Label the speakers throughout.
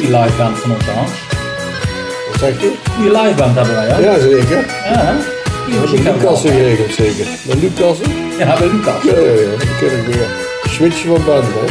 Speaker 1: die liveband van ons, Hans.
Speaker 2: Wat zeg je?
Speaker 1: Die liveband hebben wij, hè?
Speaker 2: Ja, zeker.
Speaker 1: Ja, hè? Die
Speaker 2: Dat is
Speaker 1: muziek
Speaker 2: met
Speaker 1: hebben we
Speaker 2: Lucas
Speaker 1: al.
Speaker 2: geregeld, zeker. Met Lucas?
Speaker 1: Ja, bij Lucas.
Speaker 2: Ja, ja, ja. Die ken ik weer. Switchen van band, hè.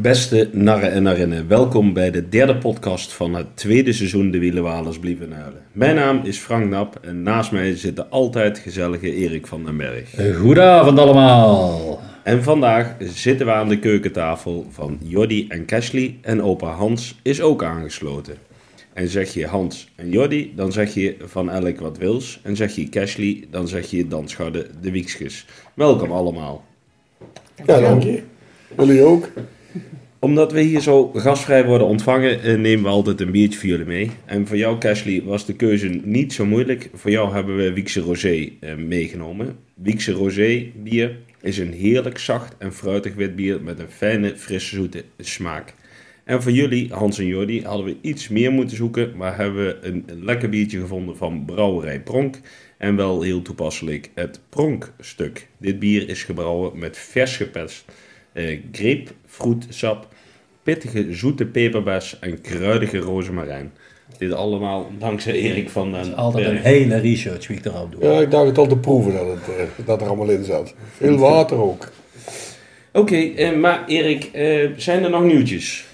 Speaker 3: Beste narren en narinnen, welkom bij de derde podcast van het tweede seizoen De Wielenwalers Blieven Huilen. Mijn naam is Frank Nap en naast mij zit de altijd gezellige Erik van den Berg.
Speaker 1: Eh, Goedenavond allemaal.
Speaker 3: En vandaag zitten we aan de keukentafel van Jordi en Kesley en opa Hans is ook aangesloten. En zeg je Hans en Jordi, dan zeg je van elk wat wils. En zeg je Kesley, dan zeg je Danschadde de Wiekskes. Welkom allemaal.
Speaker 2: Ja, dank je. Jullie ook?
Speaker 3: Omdat we hier zo gastvrij worden ontvangen, eh, nemen we altijd een biertje voor jullie mee. En voor jou, Kesley, was de keuze niet zo moeilijk. Voor jou hebben we Wiekse Rosé eh, meegenomen. Wiekse Rosé bier is een heerlijk zacht en fruitig wit bier met een fijne, frisse, zoete smaak. En voor jullie, Hans en Jordi, hadden we iets meer moeten zoeken, maar hebben we een lekker biertje gevonden van Brouwerij Pronk. En wel heel toepasselijk het Pronkstuk. Dit bier is gebrouwen met vers geperst eh grapefruitsap, pittige zoete peperbes en kruidige rozemarijn. Dit allemaal dankzij Erik van den
Speaker 1: Altijd een
Speaker 3: Berg.
Speaker 1: hele research week erop doen.
Speaker 2: Ja, ik dacht het al te proeven dat, het, eh, dat er allemaal in zat. Veel water ook.
Speaker 3: Oké, eh, maar Erik, eh, zijn er nog nieuwtjes?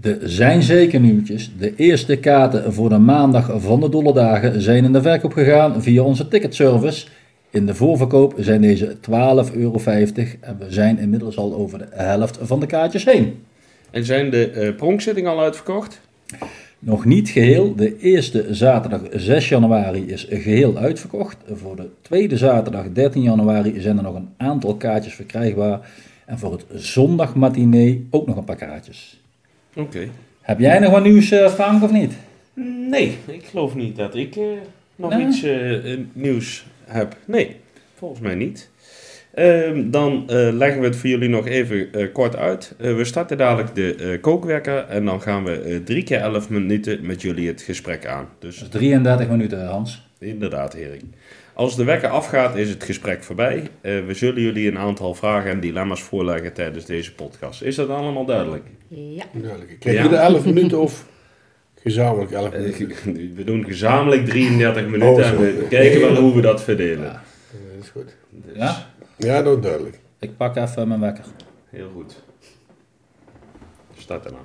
Speaker 1: Er zijn zeker nieuwtjes. De eerste kaarten voor de maandag van de Dolle Dagen zijn in de verkoop gegaan via onze ticketservice. In de voorverkoop zijn deze 12,50 euro en we zijn inmiddels al over de helft van de kaartjes heen.
Speaker 3: En zijn de eh pronkzittingen al uitverkocht?
Speaker 1: Nog niet geheel. De eerste zaterdag 6 januari is geheel uitverkocht. Voor de tweede zaterdag 13 januari zijn er nog een aantal kaartjes verkrijgbaar. En voor het zondagmatinee ook nog een paar kaartjes.
Speaker 3: Oké.
Speaker 1: Heb jij nog wat nieuws, eh, Frank, of niet?
Speaker 3: Nee, ik geloof niet dat ik eh, nog
Speaker 1: Nee?
Speaker 3: iets eh, eh, nieuws heb. Nee, volgens mij niet. Ehm, dan eh, leggen we het voor jullie nog even eh, kort uit. Eh, we starten dadelijk de eh, kookwekker en dan gaan we eh, drie keer elf minuten met jullie het gesprek aan. Dus
Speaker 1: Dat is 33 minuten, Hans.
Speaker 3: inderdaad, Erik. Als de wekker afgaat, is het gesprek voorbij. Eh, we zullen jullie een aantal vragen en dilemma's voorleggen tijdens deze podcast. Is dat allemaal duidelijk?
Speaker 4: Ja.
Speaker 2: Duidelijk. Krijg
Speaker 3: Ja.
Speaker 2: je de 11 minuten of gezamenlijk 11
Speaker 3: Eh,
Speaker 2: minuten?
Speaker 3: we doen gezamenlijk 33 minuten
Speaker 2: Oh,
Speaker 3: en
Speaker 2: zo.
Speaker 3: we kijken wel hoe we dat verdelen.
Speaker 1: Ja.
Speaker 2: Ja, dat is goed.
Speaker 3: Dus-
Speaker 1: Ja?
Speaker 2: Ja, dat is duidelijk.
Speaker 1: Ik pak even mijn wekker.
Speaker 3: Heel goed. Start erna.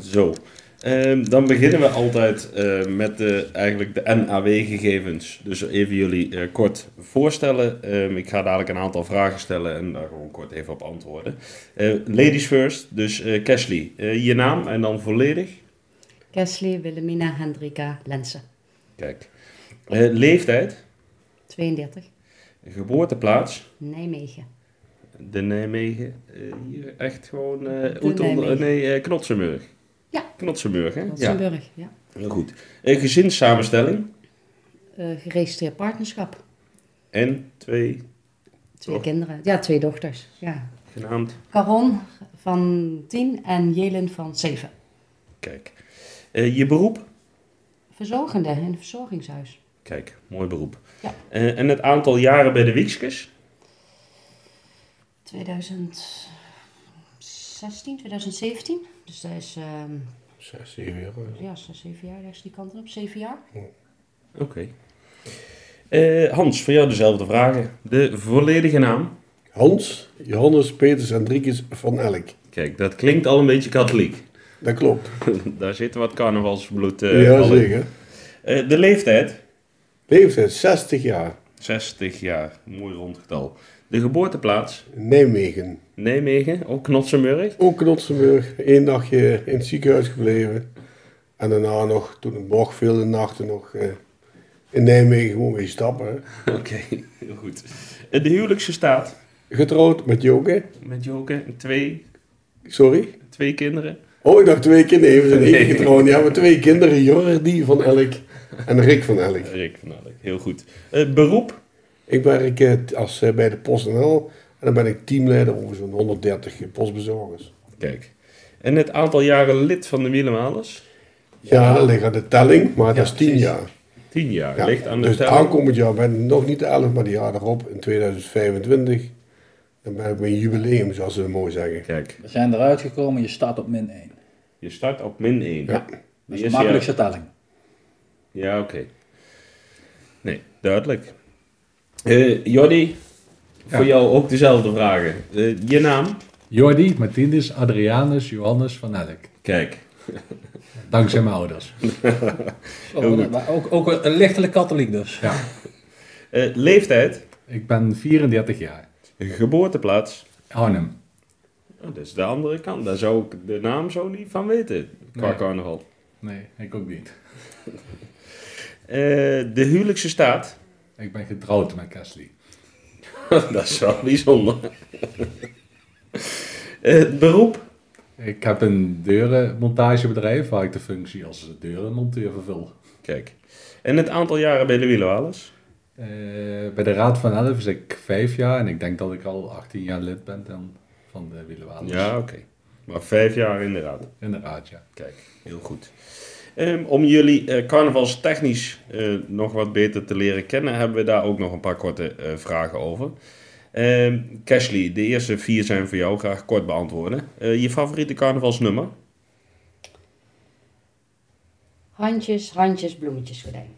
Speaker 3: Zo, ehm, dan beginnen we altijd eh, met de, eigenlijk de NAW-gegevens. Dus even jullie eh, kort voorstellen. Ehm, ik ga dadelijk een aantal vragen stellen en daar gewoon kort even op antwoorden. Eh, ladies first, dus eh Kesley, eh, je naam en dan volledig.
Speaker 4: Kesley Wilhelmina Hendrika Lensen,
Speaker 3: Kijk. Eh, leeftijd,
Speaker 4: 32,
Speaker 3: geboorteplaats,
Speaker 4: Nijmegen.
Speaker 3: De Nijmegen, eh, hier echt gewoon... eh
Speaker 4: De
Speaker 3: Oetel-
Speaker 4: Nijmegen.
Speaker 3: eh, nee, eh Knotsenburg.
Speaker 4: Ja.
Speaker 3: Knotsenburg, hè? Ja,
Speaker 4: Luxemburg, ja.
Speaker 3: heel goed. Eh, gezinssamenstelling
Speaker 4: Eh, geregistreerd partnerschap.
Speaker 3: en twee,
Speaker 4: Twee
Speaker 3: Toch?
Speaker 4: kinderen. Ja, twee dochters. Ja.
Speaker 3: genaamd...
Speaker 4: Caron van 10 en Jelen van 7.
Speaker 3: Kijk. Eh, je beroep?
Speaker 4: Verzorgende in een verzorgingshuis.
Speaker 3: Kijk, mooi beroep.
Speaker 4: Ja.
Speaker 3: Eh, en het aantal jaren bij de Wiekskes?
Speaker 4: 2016, 2017. Dus dat is ehm
Speaker 2: 6, 7 euro.
Speaker 4: ja, zes, zeven jaar, rechts die kant op. Zeven jaar.
Speaker 3: Oké. Eh, Hans, voor jou dezelfde vragen. De volledige naam?
Speaker 2: Hans, Johannes, Peters en Driekes van Elk.
Speaker 3: Kijk, dat klinkt al een beetje katholiek.
Speaker 2: Dat klopt.
Speaker 3: Daar zit wat carnavalsbloed eh,
Speaker 2: ja,
Speaker 3: al in.
Speaker 2: zeker.
Speaker 3: Eh, de leeftijd?
Speaker 2: Leeftijd 60 jaar.
Speaker 3: 60 jaar, mooi rond getal. De geboorteplaats,
Speaker 2: Nijmegen.
Speaker 3: Nijmegen, ook Knotsenburg.
Speaker 2: Ook Knotsenburg. Eén dagje in het ziekenhuis gebleven. En daarna nog, toen het mocht, vele nachten nog eh, in Nijmegen gewoon weer stappen. hè.
Speaker 3: Oké, heel goed. Eh, De huwelijkse staat,
Speaker 2: Getrouwd met Joke.
Speaker 3: met Joke, twee,
Speaker 2: Sorry.
Speaker 3: twee kinderen.
Speaker 2: Oh, ik dacht twee kinderen. Nee, we zijn
Speaker 3: Nee.
Speaker 2: één getrouwd. Ja, maar twee kinderen. Jordi van Elk en Rick van Elk.
Speaker 3: Rick van Elk, heel goed. Eh, beroep,
Speaker 2: Ik werk eh, t- als, eh, bij de PostNL. En dan ben ik teamleider over zo'n 130 postbezorgers.
Speaker 3: kijk. En het aantal jaren lid van de Wielenmalers.
Speaker 2: Ja, dat ligt aan de telling, maar dat is 10
Speaker 1: precies.
Speaker 2: jaar.
Speaker 3: 10 jaar.
Speaker 2: Ja,
Speaker 3: Ligt aan de
Speaker 2: dus het
Speaker 3: telling.
Speaker 2: aankomend jaar ben ik nog niet de 11, maar die jaar erop, in 2025, dan ben ik mijn jubileum, zoals ze mooi zeggen.
Speaker 3: Kijk,
Speaker 1: We zijn eruit gekomen, je staat op min 1.
Speaker 3: je start op min 1.
Speaker 2: Ja.
Speaker 1: Dat is de makkelijkste telling.
Speaker 3: Ja, oké. Nee, duidelijk. Eh Jordi, voor jou ook dezelfde vragen. Eh, je naam?
Speaker 5: Jordi, Martinus, Adrianus, Johannes van Elk.
Speaker 3: Kijk,
Speaker 5: Dankzij mijn ouders.
Speaker 3: Heel goed.
Speaker 1: Oh, maar ook, ook een lichtelijk katholiek dus.
Speaker 5: Ja,
Speaker 3: eh, leeftijd,
Speaker 5: ik ben 34 jaar.
Speaker 3: geboorteplaats.
Speaker 5: Arnhem.
Speaker 3: Oh, dat is de andere kant. Daar zou ik de naam zo niet van weten, qua
Speaker 5: Nee.
Speaker 3: carnaval.
Speaker 5: Nee, ik ook niet.
Speaker 3: Eh, de huwelijkse staat.
Speaker 5: Ik ben getrouwd met Kesley.
Speaker 3: dat is wel bijzonder. Eh, het beroep.
Speaker 5: Ik heb een deurenmontagebedrijf waar ik de functie als deurenmonteur vervul.
Speaker 3: Kijk. En het aantal jaren bij de Wielenwalers.
Speaker 5: Eh, bij de Raad van Elf is ik vijf jaar en ik denk dat ik al 18 jaar lid ben dan van de Wielenwalers.
Speaker 3: Ja, oké. Maar vijf jaar inderdaad.
Speaker 5: Inderdaad, ja.
Speaker 3: Kijk, heel goed. Ehm, om jullie eh, carnavalstechnisch eh, nog wat beter te leren kennen, hebben we daar ook nog een paar korte eh, vragen over. Ehm Cashley, de eerste vier zijn voor jou, graag kort beantwoorden. Eh, je favoriete carnavalsnummer?
Speaker 4: Handjes, handjes, bloemetjes gordijn.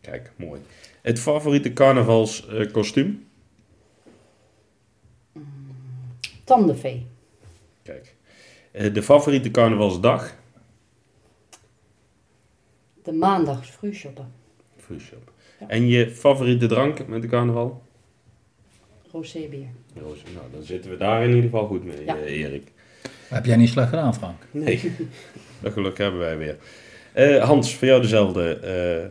Speaker 3: Kijk, mooi. Het favoriete carnavalskostuum?
Speaker 4: Tandenvee.
Speaker 3: Kijk. Eh, de favoriete carnavalsdag?
Speaker 4: De maandags vroegshoppen.
Speaker 3: Fruitshop. En je favoriete drank met de carnaval?
Speaker 4: Rosébier.
Speaker 3: Roos, nou, dan zitten we daar in ieder geval goed mee,
Speaker 4: Ja.
Speaker 3: eh, Erik.
Speaker 1: Heb jij niet slecht gedaan, Frank?
Speaker 3: Nee, dat geluk hebben wij weer. Eh, Hans, voor jou dezelfde eh,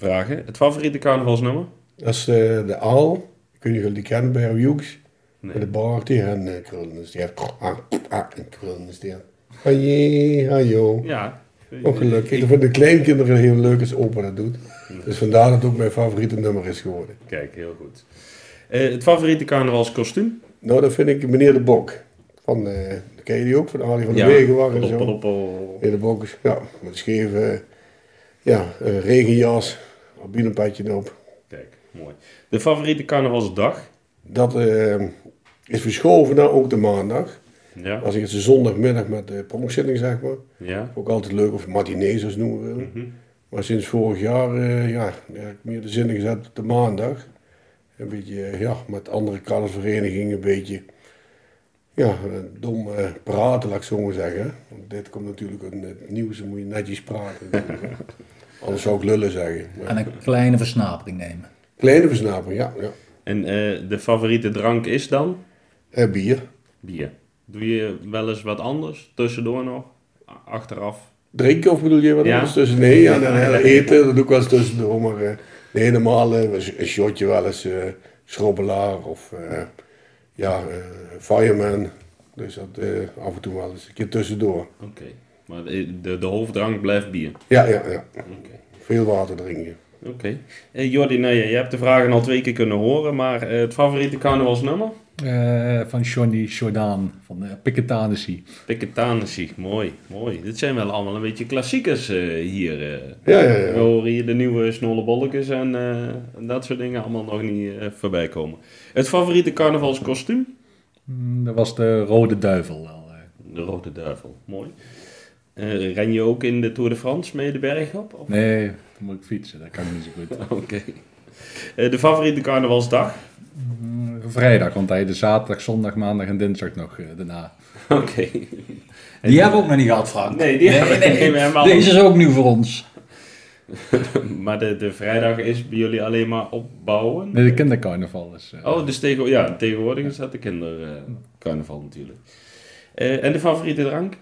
Speaker 3: vragen. Het favoriete carnavalsnummer?
Speaker 2: Dat is eh, de aal, ik weet niet of jullie die kennen bij Hughes,
Speaker 3: Nee.
Speaker 2: met de baard die en eh, krullen, dus die heeft ah, ah, en krullen, dus die heeft haje, hajo.
Speaker 3: Ja.
Speaker 2: Ook gelukkig. Dat vinden de kleinkinderen heel leuk als opa dat doet. Dus vandaar dat het ook mijn favoriete nummer is geworden.
Speaker 3: Kijk, heel goed. Eh, het favoriete carnavalskostuum?
Speaker 2: Nou, dat vind ik meneer De Bok. Van, eh, ken je die ook? Van Ali van de
Speaker 3: Ja.
Speaker 2: Wegenwacht en zo.
Speaker 3: Poppelpoppel.
Speaker 2: Meneer De Bok is, ja, met een scheve eh, ja, eh, regenjas, een bielenpadje op.
Speaker 3: Kijk, mooi. De favoriete carnavalsdag?
Speaker 2: Dat eh, is verschoven naar ook de maandag.
Speaker 3: Ja.
Speaker 2: Als ik het de zondagmiddag met de pronkzitting, zeg maar.
Speaker 3: Ja.
Speaker 2: Ook altijd leuk, of matinee zoals noemen we het.
Speaker 3: Mhm.
Speaker 2: Maar sinds vorig jaar eh, ja, heb ik meer de zin in gezet op de maandag. Een beetje eh, ja, met andere carnavalsverenigingen een beetje ja, eh, dom eh, praten, laat ik zo maar zeggen. Want dit komt natuurlijk uit het nieuws, dan moet je netjes praten. Anders zou ik lullen zeggen. Maar
Speaker 1: En een kleine versnapering nemen.
Speaker 2: kleine versnapering, ja. ja.
Speaker 3: En eh, de favoriete drank is dan?
Speaker 2: Eh, bier.
Speaker 3: Bier. Doe je wel eens wat anders? Tussendoor nog? A- Achteraf?
Speaker 2: Drinken of bedoel je wat
Speaker 3: Ja.
Speaker 2: anders tussen? Nee, ja, dan eh, eten, dat doe ik wel eens tussendoor. Maar eh, nee, normaal eh, een shotje wel eens, eh, schrobbelaar of eh, ja, eh, fireman. Dus dat eh, af en toe wel eens een keer tussendoor.
Speaker 3: Oké. Maar de, de, de hoofddrank blijft bier.
Speaker 2: Ja, ja, ja.
Speaker 3: Oké.
Speaker 2: Veel water drinken.
Speaker 3: Oké. Eh, Jordi, nou ja, je hebt de vragen al twee keer kunnen horen, maar eh, het favoriete carnavalsnummer?
Speaker 5: Eh, van Johnny Jordaan van uh, Piketanissie.
Speaker 3: Piketanissie, mooi, mooi. Dit zijn wel allemaal een beetje klassiekers eh, hier. eh.
Speaker 2: Ja, ja, ja.
Speaker 3: We horen hier de nieuwe snollebolletjes en eh, dat soort dingen allemaal nog niet eh, voorbij komen. Het favoriete carnavalskostuum?
Speaker 5: Mm, dat was de Rode Duivel wel. eh.
Speaker 3: De Rode Duivel, mooi. Eh, ren je ook in de Tour de France mee de berg op? of-
Speaker 5: Nee, dan moet ik fietsen, dat kan ik niet zo goed.
Speaker 3: Oké. Eh, de favoriete carnavalsdag?
Speaker 5: Mm, Vrijdag, want hij de zaterdag, zondag, maandag en dinsdag nog eh, daarna.
Speaker 3: Oké. En-
Speaker 1: Die hebben we ook nog niet gehad, Frank.
Speaker 3: Nee, die hebben we- nee, we hebben
Speaker 1: Deze is ook nieuw voor ons.
Speaker 3: Maar de, de vrijdag is bij jullie alleen maar opbouwen?
Speaker 5: Nee, de kindercarnaval is. eh,
Speaker 3: Oh, dus tegen, ja, tegenwoordig is dat de kindercarnaval natuurlijk. Eh, en de favoriete drank?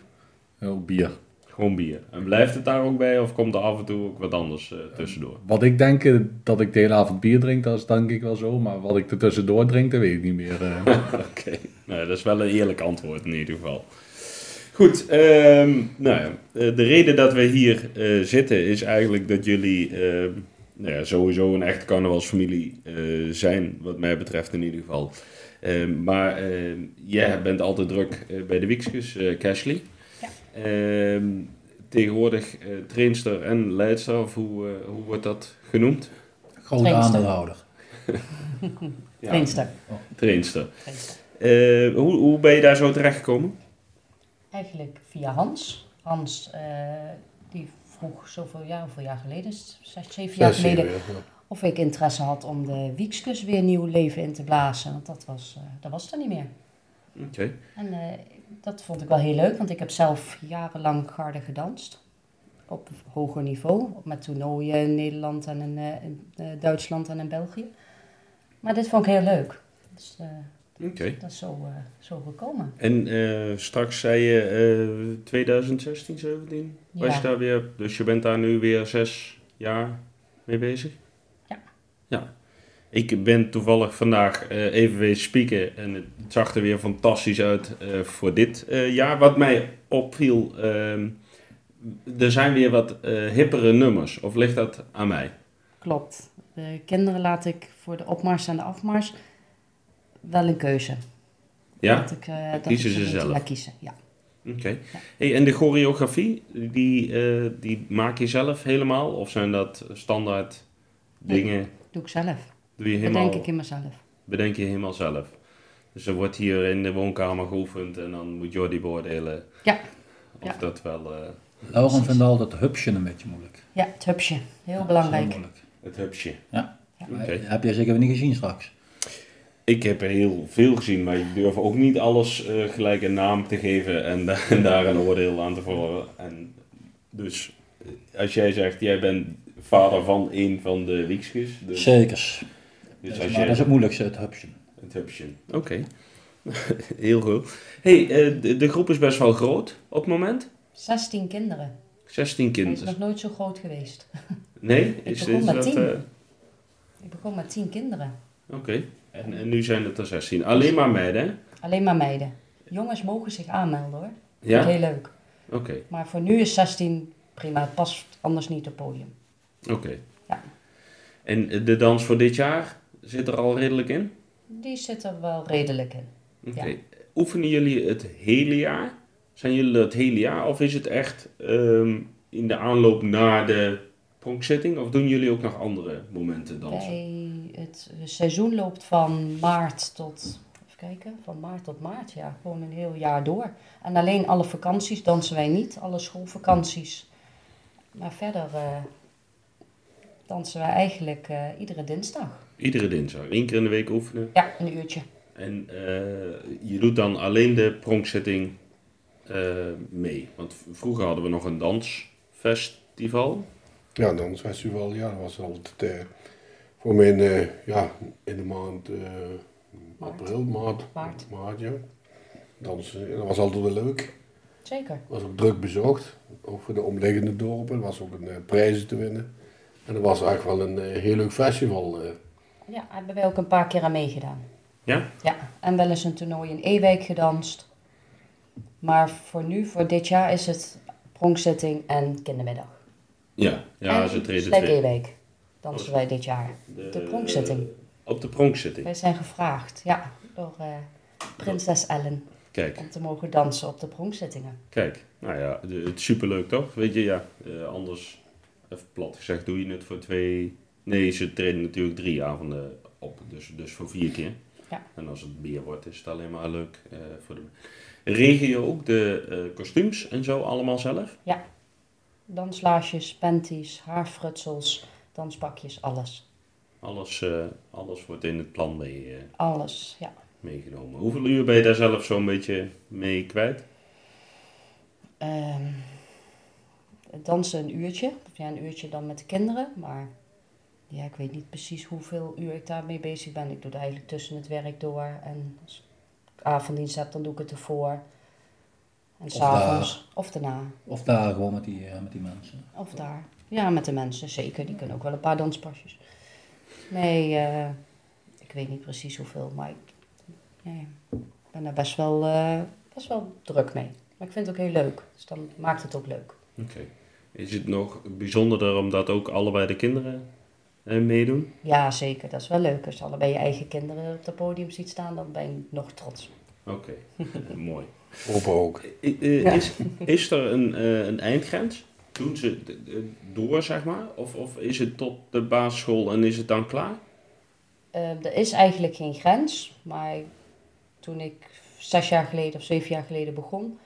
Speaker 5: oh, bier.
Speaker 3: Gewoon bier. En blijft het daar ook bij of komt er af en toe ook wat anders eh, tussendoor?
Speaker 5: Wat ik denk eh, dat ik de hele avond bier drink, dat is denk ik wel zo. Maar wat ik er tussendoor drink, dat weet ik niet meer. eh.
Speaker 3: Oké, nou, dat is wel een eerlijk antwoord in ieder geval. Goed, ehm, nou ja, eh, de reden dat we hier eh, zitten is eigenlijk dat jullie ehm, nou ja, sowieso een echte carnavalsfamilie eh, zijn, wat mij betreft in ieder geval. Ehm, maar ehm, jij bent altijd druk eh, bij de Wiekskes, eh Cashley.
Speaker 4: Ja.
Speaker 3: Ehm, tegenwoordig eh, trainster en leidster, of hoe, eh, hoe wordt dat genoemd?
Speaker 1: Groot
Speaker 4: Trainster.
Speaker 1: aandeelhouder.
Speaker 4: Trainster.
Speaker 3: Trainster.
Speaker 4: Trainster.
Speaker 3: Eh, hoe, hoe ben je daar zo terecht gekomen?
Speaker 4: Eigenlijk via Hans. Hans, eh, die vroeg zoveel jaar, hoeveel jaar geleden, is het? zes, zeven jaar
Speaker 2: Zes, zeven,
Speaker 4: geleden,
Speaker 2: ja.
Speaker 4: of ik interesse had om de Wiekskus weer nieuw leven in te blazen. Want dat was, eh, dat was er niet meer.
Speaker 3: Oké.
Speaker 4: En eh, dat vond ik wel heel leuk, want ik heb zelf jarenlang garde gedanst. Op hoger niveau, met toernooien in Nederland en in, eh, in, eh, Duitsland en in België. Maar dit vond ik heel leuk. Dus eh,
Speaker 3: Oké.
Speaker 4: dat is zo, eh, zo gekomen.
Speaker 3: En eh, straks zei je eh, 2016, 17 was
Speaker 4: Ja.
Speaker 3: je daar weer. Dus je bent daar nu weer zes jaar mee bezig?
Speaker 4: Ja.
Speaker 3: Ja. Ik ben toevallig vandaag eh, even weer spieken en het zag er weer fantastisch uit eh, voor dit eh, jaar. Wat mij opviel, ehm, er zijn weer wat eh, hippere nummers. Of ligt dat aan mij?
Speaker 4: Klopt. De kinderen laat ik voor de opmars en de afmars wel een keuze.
Speaker 3: Ja?
Speaker 4: Dat ik, eh, dat
Speaker 3: Kiezen
Speaker 4: ik
Speaker 3: ze
Speaker 4: moeten
Speaker 3: zelf.
Speaker 4: laat kiezen, ja.
Speaker 3: Oké. Hey, en de choreografie, die, eh, die maak je zelf helemaal? Of zijn dat standaard
Speaker 4: Nee.
Speaker 3: dingen?
Speaker 4: Doe ik zelf.
Speaker 3: Doe je
Speaker 4: Dat
Speaker 3: helemaal,
Speaker 4: denk ik in mezelf.
Speaker 3: bedenk je helemaal zelf? Dus er wordt hier in de woonkamer geoefend en dan moet Jordi beoordelen
Speaker 4: Ja,
Speaker 3: of
Speaker 4: Ja.
Speaker 3: dat wel eh,
Speaker 1: Lauren vindt altijd dat hupsje een beetje moeilijk.
Speaker 4: ja het hupsje. Heel
Speaker 1: Heel
Speaker 4: belangrijk.
Speaker 1: moeilijk.
Speaker 3: het hupsje.
Speaker 1: Ja.
Speaker 3: Oké.
Speaker 1: Heb jij zeker weer niet gezien straks?
Speaker 3: Ik heb er heel veel gezien, maar ik durf ook niet alles eh, gelijk een naam te geven en, da- en daar een oordeel aan te volgen. En dus eh, als jij zegt, jij bent vader van een van de Wiekskes. Dus,
Speaker 1: Zekers.
Speaker 3: dus
Speaker 1: Dus,
Speaker 3: als
Speaker 1: maar
Speaker 3: jij-
Speaker 1: dat is het moeilijkste, het hupsje.
Speaker 3: Het hupsje. Oké. Heel goed. Hey, eh, de, de groep is best wel groot op het moment.
Speaker 4: 16 kinderen.
Speaker 3: 16
Speaker 4: Hij is nog
Speaker 3: kinderen.
Speaker 4: nooit zo groot geweest.
Speaker 3: Nee? Is,
Speaker 4: begon
Speaker 3: is
Speaker 4: met
Speaker 3: dat...
Speaker 4: 10.
Speaker 3: eh,
Speaker 4: Ik begon met 10 kinderen.
Speaker 3: Oké. En, en nu zijn het er 16. Alleen maar meiden, hè?
Speaker 4: Alleen maar meiden. Jongens mogen zich aanmelden hoor. Ja?
Speaker 3: Ja?
Speaker 4: heel leuk.
Speaker 3: Oké.
Speaker 4: Maar voor nu is 16 prima. Het past anders niet op podium.
Speaker 3: Oké.
Speaker 4: Ja.
Speaker 3: En eh, de dans voor dit jaar zit er al redelijk in?
Speaker 4: Die zit er wel redelijk in.
Speaker 3: Oké.
Speaker 4: Ja.
Speaker 3: Oefenen jullie het hele jaar? Zijn jullie dat hele jaar? Of is het echt ehm, in de aanloop naar de pronkzitting? Of doen jullie ook nog andere momenten dansen?
Speaker 4: Bij het seizoen loopt van maart tot. Even kijken, van maart tot maart, ja. Gewoon een heel jaar door. En alleen alle vakanties dansen wij niet, alle schoolvakanties. Maar verder eh, dansen wij eigenlijk eh, iedere dinsdag.
Speaker 3: Iedere dinsdag, één keer in de week oefenen.
Speaker 4: Ja, een uurtje.
Speaker 3: En eh, je doet dan alleen de pronkzetting eh, mee. Want v- vroeger hadden we nog een dansfestival.
Speaker 2: Ja, dan het festival, ja, dat was altijd eh, voor mijn, eh, ja, in de maand eh,
Speaker 4: Maart.
Speaker 2: april, maart,
Speaker 4: Maart.
Speaker 2: ja. Dansen, en dat was altijd wel leuk.
Speaker 4: Zeker.
Speaker 2: was ook druk bezocht, ook voor de omliggende dorpen. Er was ook een eh, prijzen te winnen. En dat was eigenlijk wel een eh, heel leuk festival. eh.
Speaker 4: Ja, hebben wij ook een paar keer aan meegedaan.
Speaker 3: Ja?
Speaker 4: Ja, en wel eens een toernooi in Ewijk gedanst. Maar voor nu, voor dit jaar, is het pronkzitting en kindermiddag.
Speaker 3: Ja, ja ze treden
Speaker 4: Slek
Speaker 3: twee. Oh,
Speaker 4: Ewijk dansen wij dit jaar. De pronkzitting.
Speaker 3: Op de pronkzetting.
Speaker 4: Wij zijn gevraagd, ja, door eh, prinses Ellen
Speaker 3: Kijk,
Speaker 4: om te mogen dansen op de pronkzittingen.
Speaker 3: kijk. Nou ja, de- het is superleuk toch? Weet je, ja. eh, anders, even plat gezegd, doe je het voor twee... Nee, ze treden natuurlijk drie avonden op. Dus, dus voor vier keer.
Speaker 4: Ja.
Speaker 3: En als het bier wordt, is het alleen maar leuk eh, voor de... Regen je ook de eh, kostuums en zo allemaal zelf?
Speaker 4: Danslaarsjes, panties, haarfrutsels, danspakjes, alles.
Speaker 3: Alles, eh, alles wordt in het plan mee, eh,
Speaker 4: Alles, ja.
Speaker 3: meegenomen. Hoeveel uur ben je daar zelf zo'n beetje mee kwijt?
Speaker 4: Ehm, het dansen een uurtje, of ja, een uurtje dan met de kinderen, maar ja, ik weet niet precies hoeveel uur ik daarmee bezig ben. Ik doe het eigenlijk tussen het werk door en als ik avonddienst heb, dan doe ik het ervoor. En s'avonds, of daarna.
Speaker 1: Of daar gewoon met die, eh, met die mensen.
Speaker 4: Of daar. Ja, met de mensen, zeker. Die kunnen ook wel een paar danspasjes. Nee, eh, ik weet niet precies hoeveel, maar ik nee, ik ben daar best wel, eh, best wel druk mee. Maar ik vind het ook heel leuk, dus dan maakt het ook leuk.
Speaker 3: Oké. Is het nog bijzonderder omdat ook allebei de kinderen eh, meedoen?
Speaker 4: Ja, zeker, dat is wel leuk. Als je allebei je eigen kinderen op het podium ziet staan, dan ben je nog trots.
Speaker 3: Oké, Eh, mooi.
Speaker 2: Opa ook.
Speaker 3: I- eh,
Speaker 4: Ja.
Speaker 3: Is, is er een, eh, een eindgrens? Doen ze d- d- door, zeg maar? Of, of is het tot de basisschool en is het dan klaar?
Speaker 4: Eh, er is eigenlijk geen grens, maar toen ik zes jaar geleden of zeven jaar geleden begon,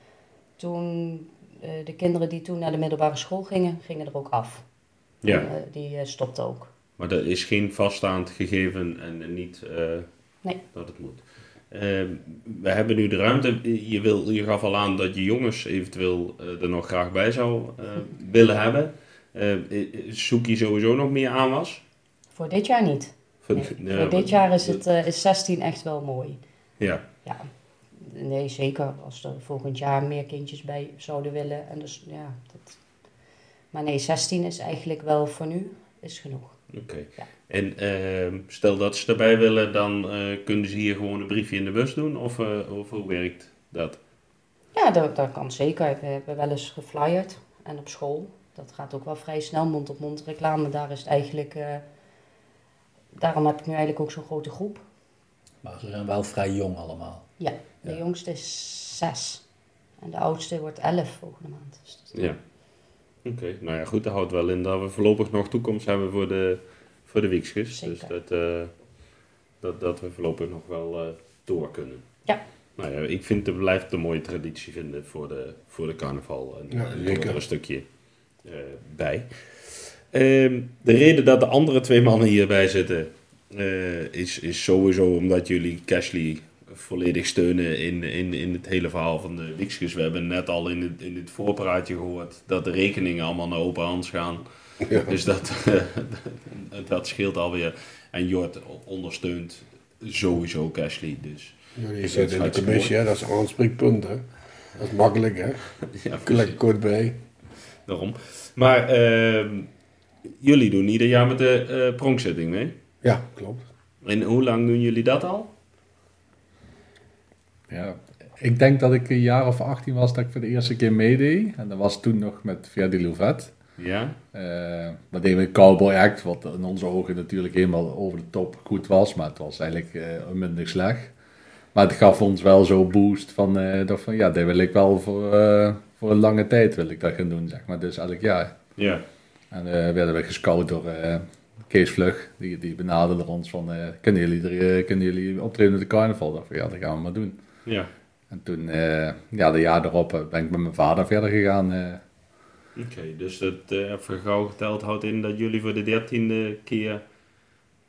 Speaker 4: toen eh, de kinderen die toen naar de middelbare school gingen, gingen er ook af.
Speaker 3: Ja.
Speaker 4: Eh, die eh, stopten ook.
Speaker 3: Maar dat is geen vaststaand gegeven en niet eh,
Speaker 4: Nee.
Speaker 3: dat het moet. Eh, we hebben nu de ruimte. Je, wil, je gaf al aan dat je jongens eventueel eh, er nog graag bij zou eh, willen hebben. Eh, eh, zoek je sowieso nog meer aanwas?
Speaker 4: Voor dit jaar niet.
Speaker 3: Voor-
Speaker 4: Nee.
Speaker 3: ja,
Speaker 4: Voor
Speaker 3: want-
Speaker 4: dit jaar is, het, eh, is 16 echt wel mooi.
Speaker 3: Ja,
Speaker 4: Ja, nee, zeker. Als er volgend jaar meer kindjes bij zouden willen. En dus, ja, dat... Maar nee, 16 is eigenlijk wel voor nu is genoeg.
Speaker 3: oké.
Speaker 4: Ja.
Speaker 3: En eh, stel dat ze erbij willen, dan eh, kunnen ze hier gewoon een briefje in de bus doen? Of, eh, of hoe werkt dat?
Speaker 4: Ja, dat, dat kan zeker. We hebben wel eens geflyerd en op school. Dat gaat ook wel vrij snel, mond-op-mond reclame. Daar is het eigenlijk... eh, Daarom heb ik nu eigenlijk ook zo'n grote groep.
Speaker 1: Maar ze zijn wel vrij jong allemaal.
Speaker 4: Ja, de
Speaker 1: Ja.
Speaker 4: jongste is 6. En de oudste wordt 11 volgende maand. Dus dat-
Speaker 3: Ja. Oké, nou ja, goed, dat houdt wel in dat we voorlopig nog toekomst hebben voor de, voor de Wiekskes. Dus
Speaker 4: Zeker.
Speaker 3: dat, eh, dat, dat we voorlopig nog wel eh, door kunnen.
Speaker 4: Ja.
Speaker 3: Nou ja, ik vind het blijft een mooie traditie vinden voor de, voor de carnaval. En,
Speaker 2: Ja,
Speaker 3: en
Speaker 2: zeker.
Speaker 3: komt er een stukje eh, bij. Ehm, de reden dat de andere twee mannen hierbij zitten eh, is, is sowieso omdat jullie Cashley volledig steunen in, in, in het hele verhaal van de Wixkes. We hebben net al in het, in het voorpraatje gehoord dat de rekeningen allemaal naar open hand gaan.
Speaker 2: Ja.
Speaker 3: Dus dat, eh, dat scheelt alweer. En Jort ondersteunt sowieso Cashley. Dus
Speaker 2: Jullie
Speaker 3: dat
Speaker 2: zitten in de
Speaker 3: hartstikke
Speaker 2: commissie, hè? dat is aanspreekpunt. Hè? Dat is makkelijk, hè?
Speaker 3: ja,
Speaker 2: Klik kort bij.
Speaker 3: daarom. Maar ehm, jullie doen ieder jaar met de eh, pronkzitting mee.
Speaker 2: Ja, klopt.
Speaker 3: En hoe lang doen jullie dat al?
Speaker 5: Ja, ik denk dat ik een jaar of 18 was dat ik voor de eerste keer meedeed. En dat was toen nog met Via de Louvet.
Speaker 3: Ja?
Speaker 5: Eh dat deden we een cowboy act, wat in onze ogen natuurlijk helemaal over de top goed was. Maar het was eigenlijk eh minder slecht. Maar het gaf ons wel zo'n boost van, eh, dat van ja, dat wil ik wel voor, eh, voor een lange tijd wil ik dat gaan doen, zeg maar. Dus elk jaar.
Speaker 3: Ja.
Speaker 5: En eh, werden we gescout door eh, Kees Vlug. Die, die benaderde ons van, eh kunnen, jullie er, eh, kunnen jullie optreden met de carnaval? Dacht van, ja, dat gaan we maar doen.
Speaker 3: Ja.
Speaker 5: En toen, eh, ja, de jaar erop eh, ben ik met mijn vader verder gegaan. eh.
Speaker 3: Oké, dus dat eh even gauw geteld houdt in dat jullie voor de dertiende keer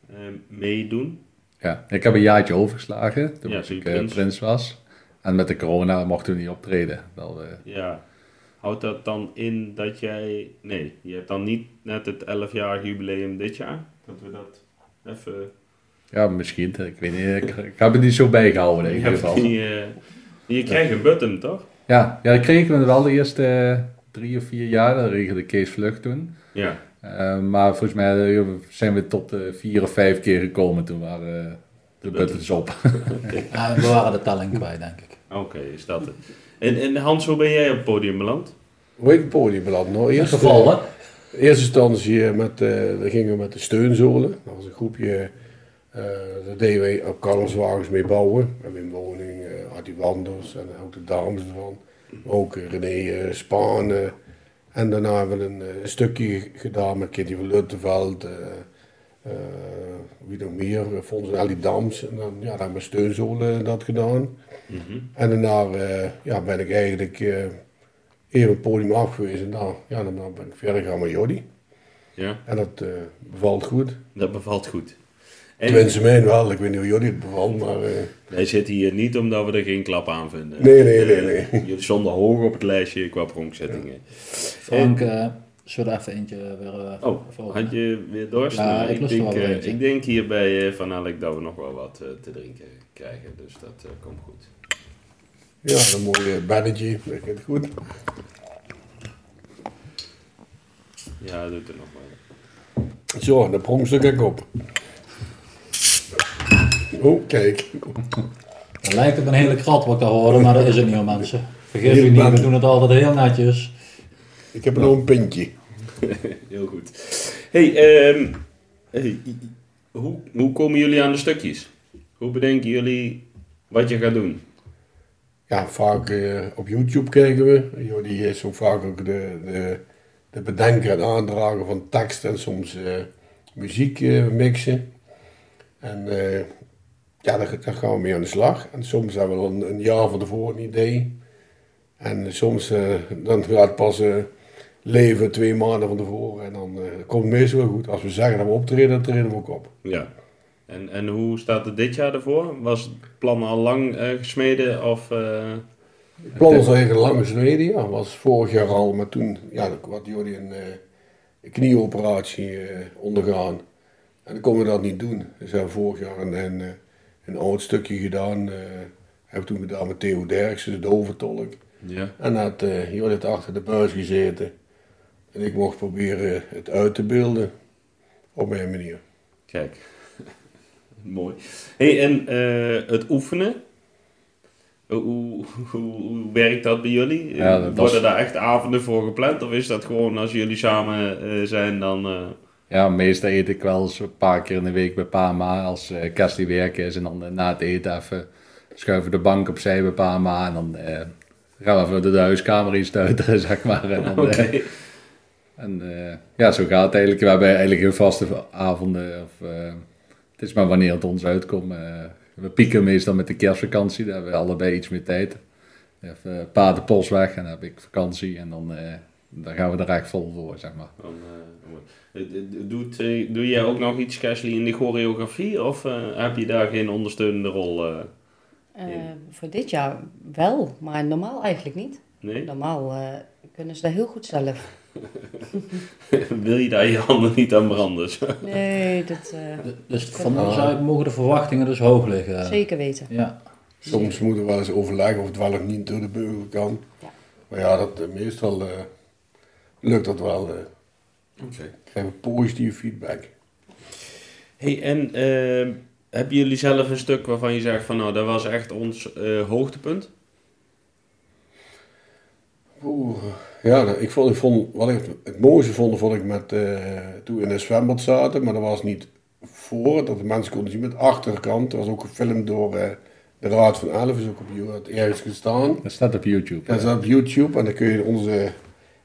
Speaker 3: eh, meedoen.
Speaker 5: ja. Ik heb een jaartje overgeslagen, toen
Speaker 3: Ja,
Speaker 5: was
Speaker 3: toen
Speaker 5: ik
Speaker 3: je
Speaker 5: eh,
Speaker 3: prins.
Speaker 5: prins. was. En met de corona mocht toen niet optreden. Wel, eh,
Speaker 3: Ja. Houdt dat dan in dat jij... Nee, je hebt dan niet net het 11-jarig jubileum dit jaar? Dat we dat even...
Speaker 5: ja, misschien, ik weet niet. Ik, ik heb het niet zo bijgehouden in
Speaker 3: Je
Speaker 5: ieder
Speaker 3: hebt
Speaker 5: geval.
Speaker 3: die, eh, je krijgt een button, toch?
Speaker 5: Ja, ja, dat kregen we wel de eerste eh, drie of vier jaar. Dat regelde Kees Vlucht toen.
Speaker 3: Ja.
Speaker 5: Eh, maar volgens mij eh, zijn we tot eh, vier of vijf keer gekomen. Toen waren eh, de buttons op.
Speaker 1: Ah, we waren de telling kwijt, denk ik.
Speaker 3: Oké, is dat het. En, en Hans, hoe ben jij op het podium beland?
Speaker 2: Hoe ik het podium beland? Nou, eerst
Speaker 1: Gevallen.
Speaker 2: In eerste instantie eh, met, eh, dan gingen we met de steunzolen. Dat was een groepje, eh daar deden wij op Carlswagens mee bouwen. We hebben in woning eh Artie Wanders en ook de dames ervan. Maar ook eh, René eh, Spaan. eh. en daarna hebben we een eh, stukje gedaan met Kitty van Luttenveld. eh eh, wie nog meer? eh, Fons en Ellie Dams. En dan, ja, dan hebben we steunzolen eh, dat gedaan.
Speaker 1: Mhm.
Speaker 2: En daarna eh, ja, ben ik eigenlijk eh, even het podium af geweest. En nou, ja, daarna ben ik verder gegaan met Jordi.
Speaker 3: Ja,
Speaker 2: En dat eh, bevalt goed.
Speaker 3: dat bevalt goed. En
Speaker 2: Tenminste, mij wel. Ik weet niet hoe Jordi het bevalt, maar eh,
Speaker 3: wij zitten hier niet omdat we er geen klap aan vinden.
Speaker 2: Nee, nee, nee, nee.
Speaker 3: Eh, Jullie stonden hoog op het lijstje qua pronkzettingen.
Speaker 1: Frank, eh zullen we even eentje weer eh,
Speaker 3: Oh,
Speaker 1: volgen?
Speaker 3: had je weer dorst?
Speaker 1: Ja,
Speaker 3: Nou,
Speaker 1: ik lust
Speaker 3: denk,
Speaker 1: er wel
Speaker 3: eh,
Speaker 1: eentje.
Speaker 3: ik denk hier bij eh, Van Elk dat we nog wel wat eh, te drinken krijgen. Dus dat eh, komt goed.
Speaker 2: ja, een mooi eh, bannetje. Dat gaat goed.
Speaker 3: Ja, doet er nog wel.
Speaker 2: Zo, en dan prongstuk ik op. Oh, kijk.
Speaker 1: Dat lijkt op een hele krat wat ik daar hoorde, maar dat is het niet hoor mensen. Vergeet u
Speaker 2: Heel
Speaker 1: niet,
Speaker 2: bang.
Speaker 1: we doen het altijd heel netjes.
Speaker 2: Ik heb nog een pintje.
Speaker 3: Heel goed. Hey, ehm, hey, hoe, hoe komen jullie aan de stukjes? Hoe bedenken jullie wat je gaat doen?
Speaker 2: Ja, vaak eh, op YouTube kijken we. Jordi is zo vaak ook de, de, de bedenker en aandrager van tekst en soms eh, muziek eh, mixen. En eh, ja, daar, daar gaan we mee aan de slag. En soms hebben we dan een jaar van tevoren een idee. En soms eh, dan gaat het pas eh, leven twee maanden van tevoren. En dan eh, komt het meestal wel goed. Als we zeggen dat we optreden, dan treden we ook op.
Speaker 3: Ja. En, en hoe staat het dit jaar ervoor? Was het plan al lang eh, gesmeden of... eh,
Speaker 2: Het plan was eigenlijk lang gesmeden, ja. was vorig jaar al, maar toen ja, dan had Jordi een eh, knieoperatie eh, ondergaan. En dan konden we dat niet doen. Dus hebben we vorig jaar een, een, eh, een oud stukje gedaan. eh hebben we toen gedaan met Theo Derksen, de doventolk.
Speaker 3: ja.
Speaker 2: En had eh Jordi had achter de buis gezeten. En ik mocht proberen het uit te beelden. Op mijn manier.
Speaker 3: Kijk. Mooi. hey, en eh, het oefenen? Hoe, hoe, hoe- hoe werkt dat bij jullie?
Speaker 5: Ja, dat
Speaker 3: Worden
Speaker 5: was-
Speaker 3: daar echt avonden voor gepland? Of is dat gewoon als jullie samen eh, zijn dan... eh,
Speaker 5: Ja, meestal eet ik wel eens een paar keer in de week bij Pama als eh Kerst die werken is. En dan eh, na het eten even schuiven we de bank opzij bij Pama. En dan eh, gaan we even de huiskamer iets stuiteren, zeg maar. En dan, eh,
Speaker 3: Oké.
Speaker 5: En eh, ja, zo gaat het eigenlijk. We hebben eigenlijk heel vaste avonden. Of, eh, het is maar wanneer het ons uitkomt. eh. we pieken meestal met de kerstvakantie. Daar hebben we allebei iets meer tijd. Even een paar de pols weg en dan heb ik vakantie. En dan, eh, dan gaan we er echt vol voor, zeg maar.
Speaker 3: Dan, eh, mooi. Eh, eh, Doet, eh, doe jij ook nog iets casually in de choreografie? Of eh, heb je daar geen ondersteunende rol? eh?
Speaker 4: Eh, voor dit jaar wel, maar normaal eigenlijk niet.
Speaker 3: nee?
Speaker 4: Normaal eh, kunnen ze dat heel goed zelf.
Speaker 3: Wil je daar je handen niet aan branden?
Speaker 4: Nee, dat eh,
Speaker 1: Dus van ons uit mogen de verwachtingen dus hoog liggen.
Speaker 4: zeker weten.
Speaker 1: Ja.
Speaker 2: Soms moeten we wel eens overleggen of het wel of niet door de beugel kan.
Speaker 4: Ja.
Speaker 2: Maar ja, dat, eh, meestal eh, lukt dat wel. eh. krijgen we positieve feedback.
Speaker 3: Hey, en eh, hebben jullie zelf een stuk waarvan je zegt van nou, dat was echt ons eh, hoogtepunt?
Speaker 2: Oeh, ja, dat- ik vond, ik vond, wat ik het- het mooiste vond, vond ik met, eh, toen we in een zwembad zaten, maar dat was niet voor, dat de mensen konden zien, maar de achterkant. Dat was ook gefilmd door eh, de Raad van Elf, is ook op you- had ergens gestaan.
Speaker 5: Dat staat op YouTube.
Speaker 2: Dat is op YouTube en dan kun je onze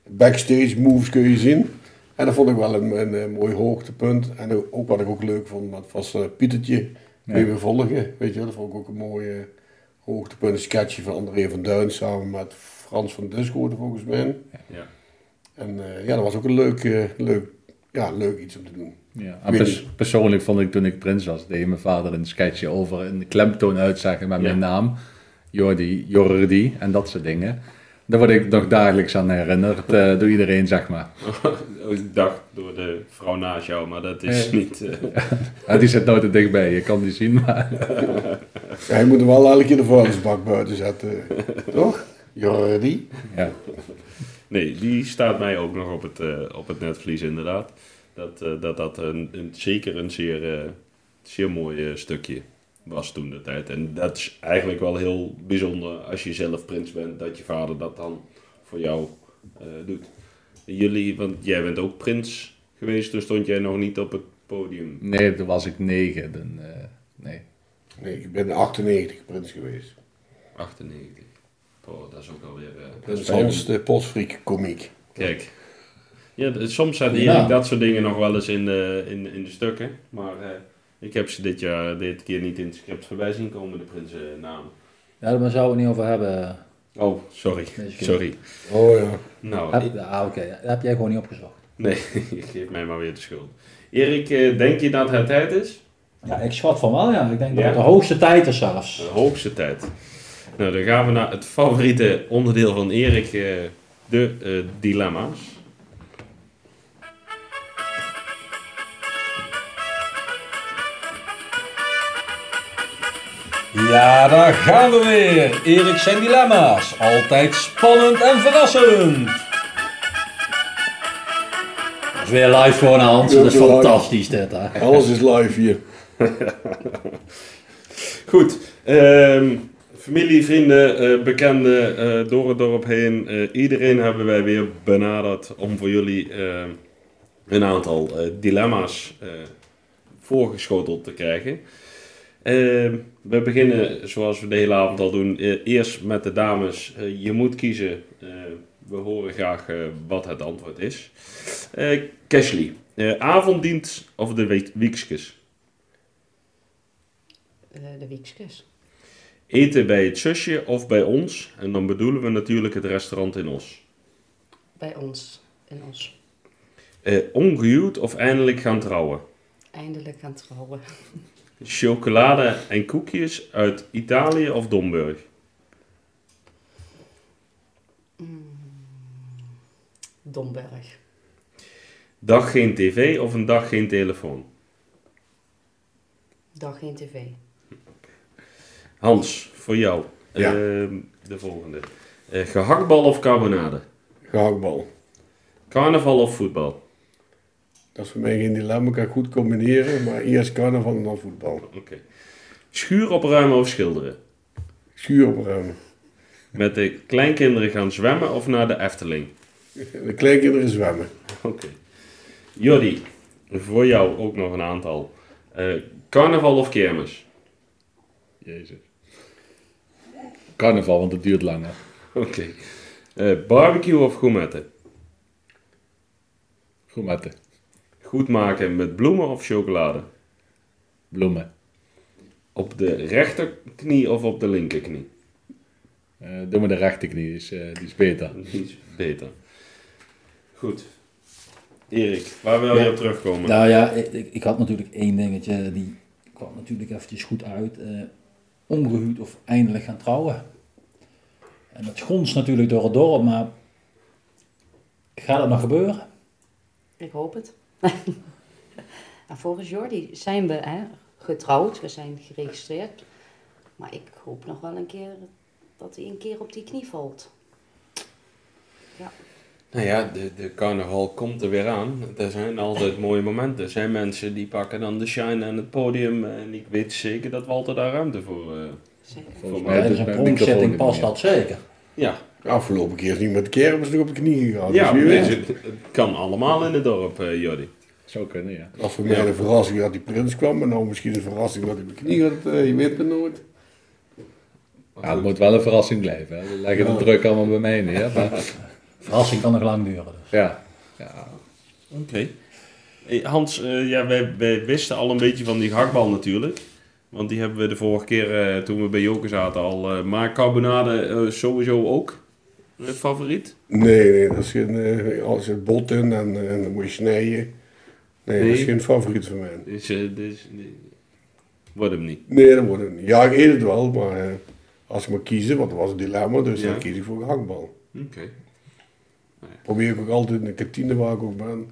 Speaker 2: backstage moves kun je zien. En dat vond ik wel een, een, eh, mooi hoogtepunt. En ook- ook wat ik ook leuk vond, dat was eh, Pietertje mee volgen. Weet je, wel, dat vond ik ook een mooi eh, hoogtepunt. Een sketchje van André van Duin samen met Frans van Discoorde volgens mij.
Speaker 3: Ja.
Speaker 2: En eh, ja, dat was ook een leuk, eh, leuk, ja, leuk iets om te doen.
Speaker 5: Ja. En pers- persoonlijk vond ik toen ik prins was, deed mijn vader een sketchje over een klemtoon uitzeggen met mijn
Speaker 3: Ja.
Speaker 5: naam. Jordi, Jordi en dat soort dingen. Daar word ik nog dagelijks aan herinnerd eh, door iedereen, zeg maar.
Speaker 3: Oh, ik dacht door de vrouw naast jou, maar dat is
Speaker 5: Nee.
Speaker 3: niet. eh,
Speaker 5: Ah, die zit nooit er dichtbij, je kan die zien, maar...
Speaker 2: Ja, je moet hem wel elke keer de vuilnisbak buiten zetten, toch? Jordi?
Speaker 5: Ja,
Speaker 3: nee, die staat mij ook nog op het, eh, op het netvlies, inderdaad. Dat eh, dat, dat een, een- zeker een zeer, eh, zeer mooi eh, stukje was toen de tijd. En dat is eigenlijk wel heel bijzonder als je zelf prins bent, dat je vader dat dan voor jou eh, doet. Jullie, want jij bent ook prins geweest, toen stond jij nog niet op het podium.
Speaker 5: nee, toen was ik negen. Dan, eh, nee.
Speaker 2: Nee, ik ben in 98 prins geweest.
Speaker 3: 98. Oh, dat is ook alweer. eh
Speaker 2: Dat is Hans de postfriek komiek.
Speaker 3: Kijk. Ja, d- soms zaten
Speaker 1: Ja.
Speaker 3: hier dat soort dingen nog wel eens in de, in, in de stukken. Maar eh, ik heb ze dit jaar, dit keer niet in het script voorbij zien komen, de prinsennamen.
Speaker 1: ja, daar zouden we het niet over hebben.
Speaker 3: Oh, sorry.
Speaker 1: Nee, is goed.
Speaker 3: Sorry.
Speaker 2: Oh ja.
Speaker 3: Nou, ik-
Speaker 1: Heb, ah, oké. Dat heb jij gewoon niet opgezocht.
Speaker 3: nee, geef mij maar weer de schuld. Erik, eh, denk je dat het tijd is?
Speaker 1: Ja, ik schat van wel, ja. Ik denk dat
Speaker 3: Ja.
Speaker 1: het de hoogste tijd is zelfs.
Speaker 3: De hoogste tijd. Nou, dan gaan we naar het favoriete onderdeel van Erik, eh, de eh, dilemma's.
Speaker 1: Ja, daar gaan we weer. Erik zijn dilemma's. Altijd spannend en verrassend. Dat is weer live gewoon aan Hans. Dat is fantastisch dit, hè.
Speaker 2: Alles is live hier.
Speaker 3: Goed. ehm, familie, vrienden, eh, bekenden, eh, door het dorp heen. eh, iedereen hebben wij weer benaderd om voor jullie eh, een aantal eh, dilemma's eh, voorgeschoteld te krijgen. Eh, we beginnen zoals we de hele avond al doen. eh, eerst met de dames. Eh, je moet kiezen. Eh, we horen graag eh, wat het antwoord is. Eh Cashley, eh, avonddienst of de week- wiekskes?
Speaker 4: Eh, de Wiekskes.
Speaker 3: Eten bij het zusje of bij ons? En dan bedoelen we natuurlijk het restaurant in Os.
Speaker 4: Bij ons. In ons.
Speaker 3: Eh, ongehuwd of eindelijk gaan trouwen?
Speaker 4: Eindelijk aan het trouwen.
Speaker 3: Chocolade en koekjes uit Italië of Domburg?
Speaker 4: Domberg.
Speaker 3: Dag geen tv of een dag geen telefoon?
Speaker 4: Dag geen tv.
Speaker 3: Hans, voor jou.
Speaker 2: Ja.
Speaker 3: Ehm, de volgende. Eh, gehaktbal of carbonade?
Speaker 2: Gehaktbal.
Speaker 3: Carnaval of voetbal?
Speaker 2: Dat is voor mij geen dilemma. Ik kan goed combineren, maar eerst carnaval en dan voetbal.
Speaker 3: Oké. Schuur opruimen of schilderen?
Speaker 2: Schuur opruimen.
Speaker 3: Met de kleinkinderen gaan zwemmen of naar de Efteling?
Speaker 2: De kleinkinderen zwemmen.
Speaker 3: Oké. Jordi, voor jou ook nog een aantal. Eh, carnaval of kermis?
Speaker 5: Jezus. Carnaval, want het duurt langer.
Speaker 3: Oké. Eh, barbecue of gourmetten?
Speaker 5: Goed met de
Speaker 3: Goed maken met bloemen of chocolade?
Speaker 5: bloemen.
Speaker 3: Op de rechterknie of op de linkerknie?
Speaker 5: Eh doe maar de rechterknie, die is, eh, die is beter.
Speaker 3: Iets beter. Goed. Erik, waar wil je op terugkomen?
Speaker 1: Nou ja, ik, ik- ik had natuurlijk één dingetje, die kwam natuurlijk eventjes goed uit. eh, ongehuwd of eindelijk gaan trouwen. En dat gonst natuurlijk door het dorp, maar gaat dat nog gebeuren?
Speaker 4: Ik hoop het. en Nou, volgens Jordi zijn we hè, getrouwd, we zijn geregistreerd. Maar ik hoop nog wel een keer dat hij een keer op die knie valt.
Speaker 3: Nou ja, de, de carnaval komt er weer aan. Er zijn altijd mooie momenten. Er zijn mensen die pakken dan de shine en het podium. En ik weet zeker dat Walter daar ruimte voor... eh
Speaker 4: Zeker.
Speaker 5: Volgens
Speaker 3: Ja,
Speaker 1: Ja,
Speaker 5: mij
Speaker 1: dus
Speaker 5: doet
Speaker 1: een
Speaker 5: mijn microfoon
Speaker 1: pronkzetting
Speaker 5: niet
Speaker 1: past
Speaker 5: meer.
Speaker 1: dat zeker.
Speaker 3: ja,
Speaker 2: De afgelopen keer is niet met de kermis nog op de knieën gegaan.
Speaker 3: ja
Speaker 2: dus wie weet.
Speaker 3: dus het, het kan allemaal in het dorp, eh Jordi.
Speaker 5: Zou kunnen, ja.
Speaker 2: Dat was voor mij een verrassing dat die prins kwam. En nou misschien een verrassing dat hij op de knie had. eh, je weet het nooit.
Speaker 5: ja het moet wel een verrassing blijven. Hè. We leggen de druk allemaal bij mij neer. Maar,
Speaker 1: Verrassing kan nog lang duren. Dus.
Speaker 5: ja. ja.
Speaker 3: Oké. Hey, Hans, eh, ja, wij, wij wisten al een beetje van die hakbal natuurlijk. Want die hebben we de vorige keer eh, toen we bij Joker zaten al. eh, maar carbonade eh, sowieso ook eh, favoriet.
Speaker 2: Nee, nee, dat is geen. eh, als je het bot in en, eh, en dan moet je snijden. Nee, dat is
Speaker 3: Nee.
Speaker 2: geen favoriet van mij.
Speaker 3: Dus, eh, dus eh, wordt hem niet.
Speaker 2: Nee, dat wordt het niet. Ja, ik eet het wel, maar eh, als ik moet kiezen, want dat was een dilemma, dus
Speaker 3: Ja.
Speaker 2: dan kies ik voor gehaktbal.
Speaker 3: Oké.
Speaker 2: Probeer ik ook altijd in de kantine waar ik ook ben,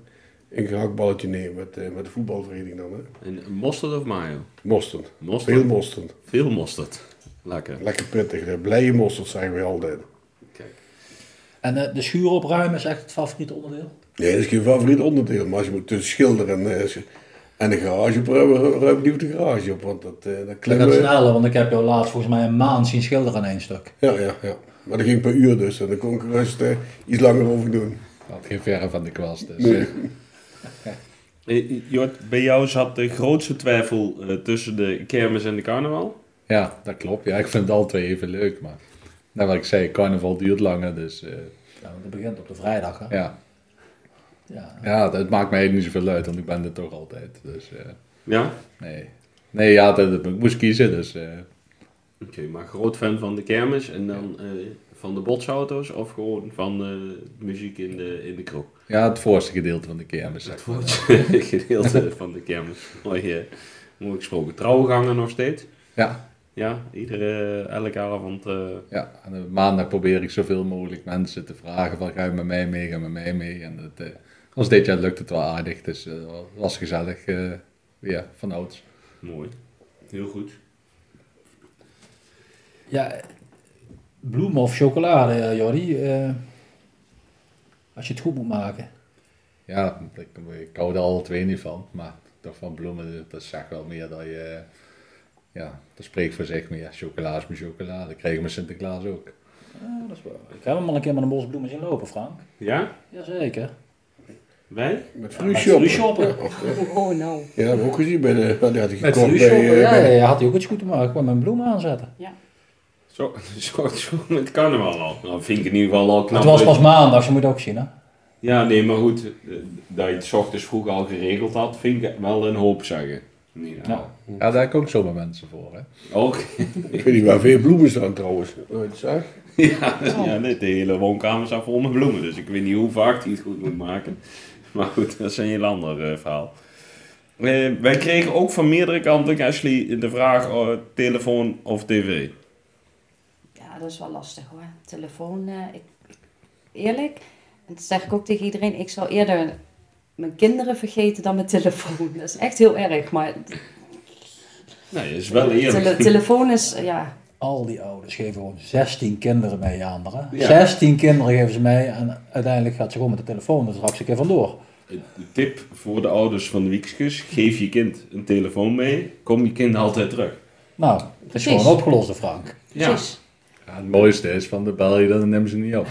Speaker 2: een gehaktballetje nemen met, eh, met de voetbalvereniging dan. Hè.
Speaker 3: En mosterd of mayo?
Speaker 2: Mosterd.
Speaker 3: Mosterd.
Speaker 2: Veel mosterd.
Speaker 3: Veel mosterd. Lekker.
Speaker 2: Lekker pittig. hè. Blije mosterd zeggen we altijd.
Speaker 3: Kijk.
Speaker 1: En eh, de schuur opruimen is echt het favoriete onderdeel.
Speaker 2: Nee, dat is geen favoriet onderdeel, maar als je moet tussen schilderen en, eh, sch- en de garage op, ruim, ruim ik liever de garage op, want dat, eh dat
Speaker 1: Dat
Speaker 2: klimmen
Speaker 1: gaat
Speaker 2: we-
Speaker 1: sneller, want ik heb jou laatst volgens mij een maand zien schilderen aan één stuk.
Speaker 2: Ja, ja, ja. Maar dat ging per uur dus, en dan kon ik er rust eh, iets langer over doen.
Speaker 5: Had geen verre van de kwast. Dus, eh,
Speaker 3: Eh, Jort, bij jou zat de grootste twijfel eh, tussen de kermis en de carnaval?
Speaker 5: ja, dat klopt. Ja, ik vind het alle twee even leuk. Maar nou, wat ik zei, carnaval duurt langer. Dus eh,
Speaker 1: Ja, want dat begint op de vrijdag. Hè?
Speaker 5: ja.
Speaker 1: Ja.
Speaker 5: ja, dat maakt mij niet zoveel uit. Want ik ben er toch altijd. Dus eh,
Speaker 3: Ja?
Speaker 5: nee. Nee, ja, dat, dat- ik moest kiezen. Dus eh,
Speaker 3: Oké, maar groot fan van de kermis en dan eh, van de botsauto's of gewoon van eh, muziek in de, in de kroeg?
Speaker 5: ja, het voorste gedeelte van de kermis. zeg maar.
Speaker 3: Voor het gedeelte van de kermis. Mooi, eh, mooi gesproken. Trouwgangen nog steeds?
Speaker 5: Ja,
Speaker 3: Ja, iedere, elke avond. eh,
Speaker 5: ja. En, eh, maandag probeer ik zoveel mogelijk mensen te vragen van ga je met mij mee, ga je met mij mee. En dat, eh, ons dit jaar lukt het wel aardig. Dus eh, het was gezellig. eh ja, van ouds.
Speaker 3: mooi. Heel goed.
Speaker 1: Ja, eh, bloemen of chocolade, eh, Jordi. eh, als je het goed moet maken.
Speaker 5: Ja, ik, ik hou er alle twee niet van, maar toch van bloemen, dat zag wel meer dat je... Ja, dat spreekt voor zich, maar ja, chocola is mijn chocola, dat krijgen we Sinterklaas ook.
Speaker 1: Ja, dat is waar. Ik heb hem al een keer met een bos bloemen zien lopen, Frank.
Speaker 3: Ja?
Speaker 1: Jazeker.
Speaker 3: Wij?
Speaker 2: Met
Speaker 3: Met
Speaker 2: free
Speaker 3: free
Speaker 2: shoppen.
Speaker 4: Oh no.
Speaker 2: Ja, dat heb ik ook gezien bij de... Dat had ik
Speaker 1: Met
Speaker 2: gekocht bij...
Speaker 1: Lucio,
Speaker 2: eh,
Speaker 1: ja, ja,
Speaker 2: bij-
Speaker 1: ja, had hij ook iets goed te maken. Ik kwam mijn bloem aanzetten.
Speaker 3: Zo, zo, zo met carnaval al. Nou, vind ik in ieder geval al knap.
Speaker 1: Het was
Speaker 3: dat-
Speaker 1: pas maandag, je moet ook zien hè.
Speaker 3: Ja, nee, maar goed. eh, Dat je het 's ochtends vroeg al geregeld had, vind ik wel een hoop zeggen. Nee, nou.
Speaker 1: Ja.
Speaker 5: Ja, daar komen zomaar mensen voor. Hè?
Speaker 3: Ook.
Speaker 2: Ik weet niet waar veel bloemen staan trouwens. Nooit zag.
Speaker 3: Ja,
Speaker 4: Oh.
Speaker 3: ja nee, de hele woonkamer staat vol met bloemen. Dus ik weet niet hoe vaak die het goed moet maken. Maar goed, dat is een heel ander eh, verhaal. Eh, wij kregen ook van meerdere kanten, Ashley, de vraag eh, telefoon of tv.
Speaker 4: Ja, dat is wel lastig hoor. Telefoon, eh, ik, ik- eerlijk, en dat zeg ik ook tegen iedereen, ik zou eerder mijn kinderen vergeten dan mijn telefoon. Dat is echt heel erg, maar
Speaker 3: Nee, dat Nou, is wel
Speaker 4: tele-
Speaker 3: eerlijk.
Speaker 4: telefoon is, eh, ja,
Speaker 1: Al die ouders geven gewoon 16 kinderen mee aan anderen.
Speaker 3: Ja.
Speaker 1: 16 kinderen geven ze mee en uiteindelijk gaat ze gewoon met de telefoon er straks een keer vandoor.
Speaker 3: De tip voor de ouders van de Wiekskes, geef je kind een telefoon mee, kom je kind altijd terug.
Speaker 1: Nou, het is
Speaker 4: Precies.
Speaker 1: gewoon opgelost, hè, Frank.
Speaker 4: precies.
Speaker 5: Ja, het mooiste is van de bel je dan en nemen ze niet op.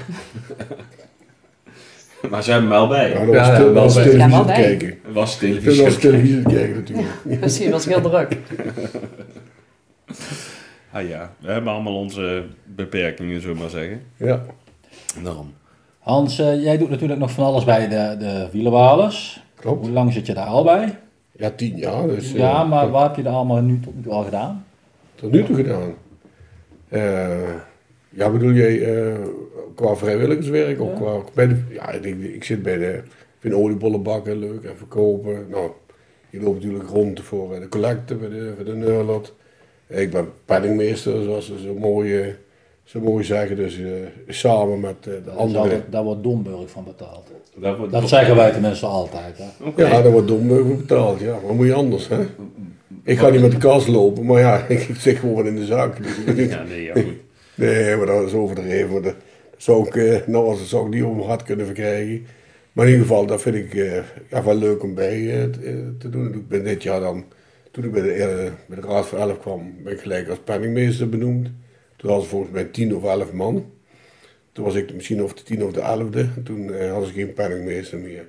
Speaker 3: Ja, maar ze hebben hem wel bij.
Speaker 2: Ja, dat was
Speaker 5: Ja,
Speaker 2: te-
Speaker 5: wel
Speaker 2: dat was
Speaker 5: bij.
Speaker 2: televisie
Speaker 4: Ja, wel
Speaker 2: te
Speaker 4: bij.
Speaker 2: kijken.
Speaker 3: Was
Speaker 2: Dat was
Speaker 3: televisie.
Speaker 2: televisie te kijken natuurlijk.
Speaker 4: Precies, was heel druk.
Speaker 3: Ah ja, we hebben allemaal onze beperkingen, zullen we maar zeggen.
Speaker 2: Ja.
Speaker 3: Daarom.
Speaker 1: Hans, eh, jij doet natuurlijk nog van alles bij de, de wielerwalers.
Speaker 2: Klopt.
Speaker 1: Hoe lang zit je daar al bij?
Speaker 2: Ja, tien jaar. Dus, eh,
Speaker 1: Ja, maar wat heb je er allemaal nu tot nu toe al gedaan?
Speaker 2: Tot nu toe gedaan. Eh, ja, bedoel jij eh, qua vrijwilligerswerk? Of qua, bij de, ja, ik, denk, ik zit bij de... Ik vind oliebollen bakken leuk en verkopen. Nou, je loopt natuurlijk rond voor eh, de collecte bij de, voor de Neurlot. Ik ben penningmeester, zoals ze zo mooi, eh, zo mooi zeggen. Dus eh, samen met eh, de
Speaker 1: Dat is
Speaker 2: anderen.
Speaker 1: altijd- daar wordt Domburg van betaald.
Speaker 3: Dat, wordt-
Speaker 1: Dat zeggen wij tenminste altijd. Hè?
Speaker 3: Oké.
Speaker 2: Ja, daar wordt domburg voor betaald. Ja, wat moet je anders, hè? Ik ga niet met de kast lopen, maar ja, ik zit gewoon in de zaak.
Speaker 3: Ja, nee, ja, goed.
Speaker 2: Nee, maar dat is overdreven. maar Dat zou ik, eh, nou, als het zou ik niet om mijn hart kunnen verkrijgen. Maar in ieder geval, dat vind ik eh, ja, wel leuk om bij eh, t- eh, te doen. Ik ben dit jaar dan, toen ik bij de, eh, bij de Raad van Elf kwam, ben ik gelijk als penningmeester benoemd. Toen hadden ze volgens mij tien of elf man. Toen was ik misschien of de tien of de elfde. Toen eh, hadden ze geen penningmeester meer.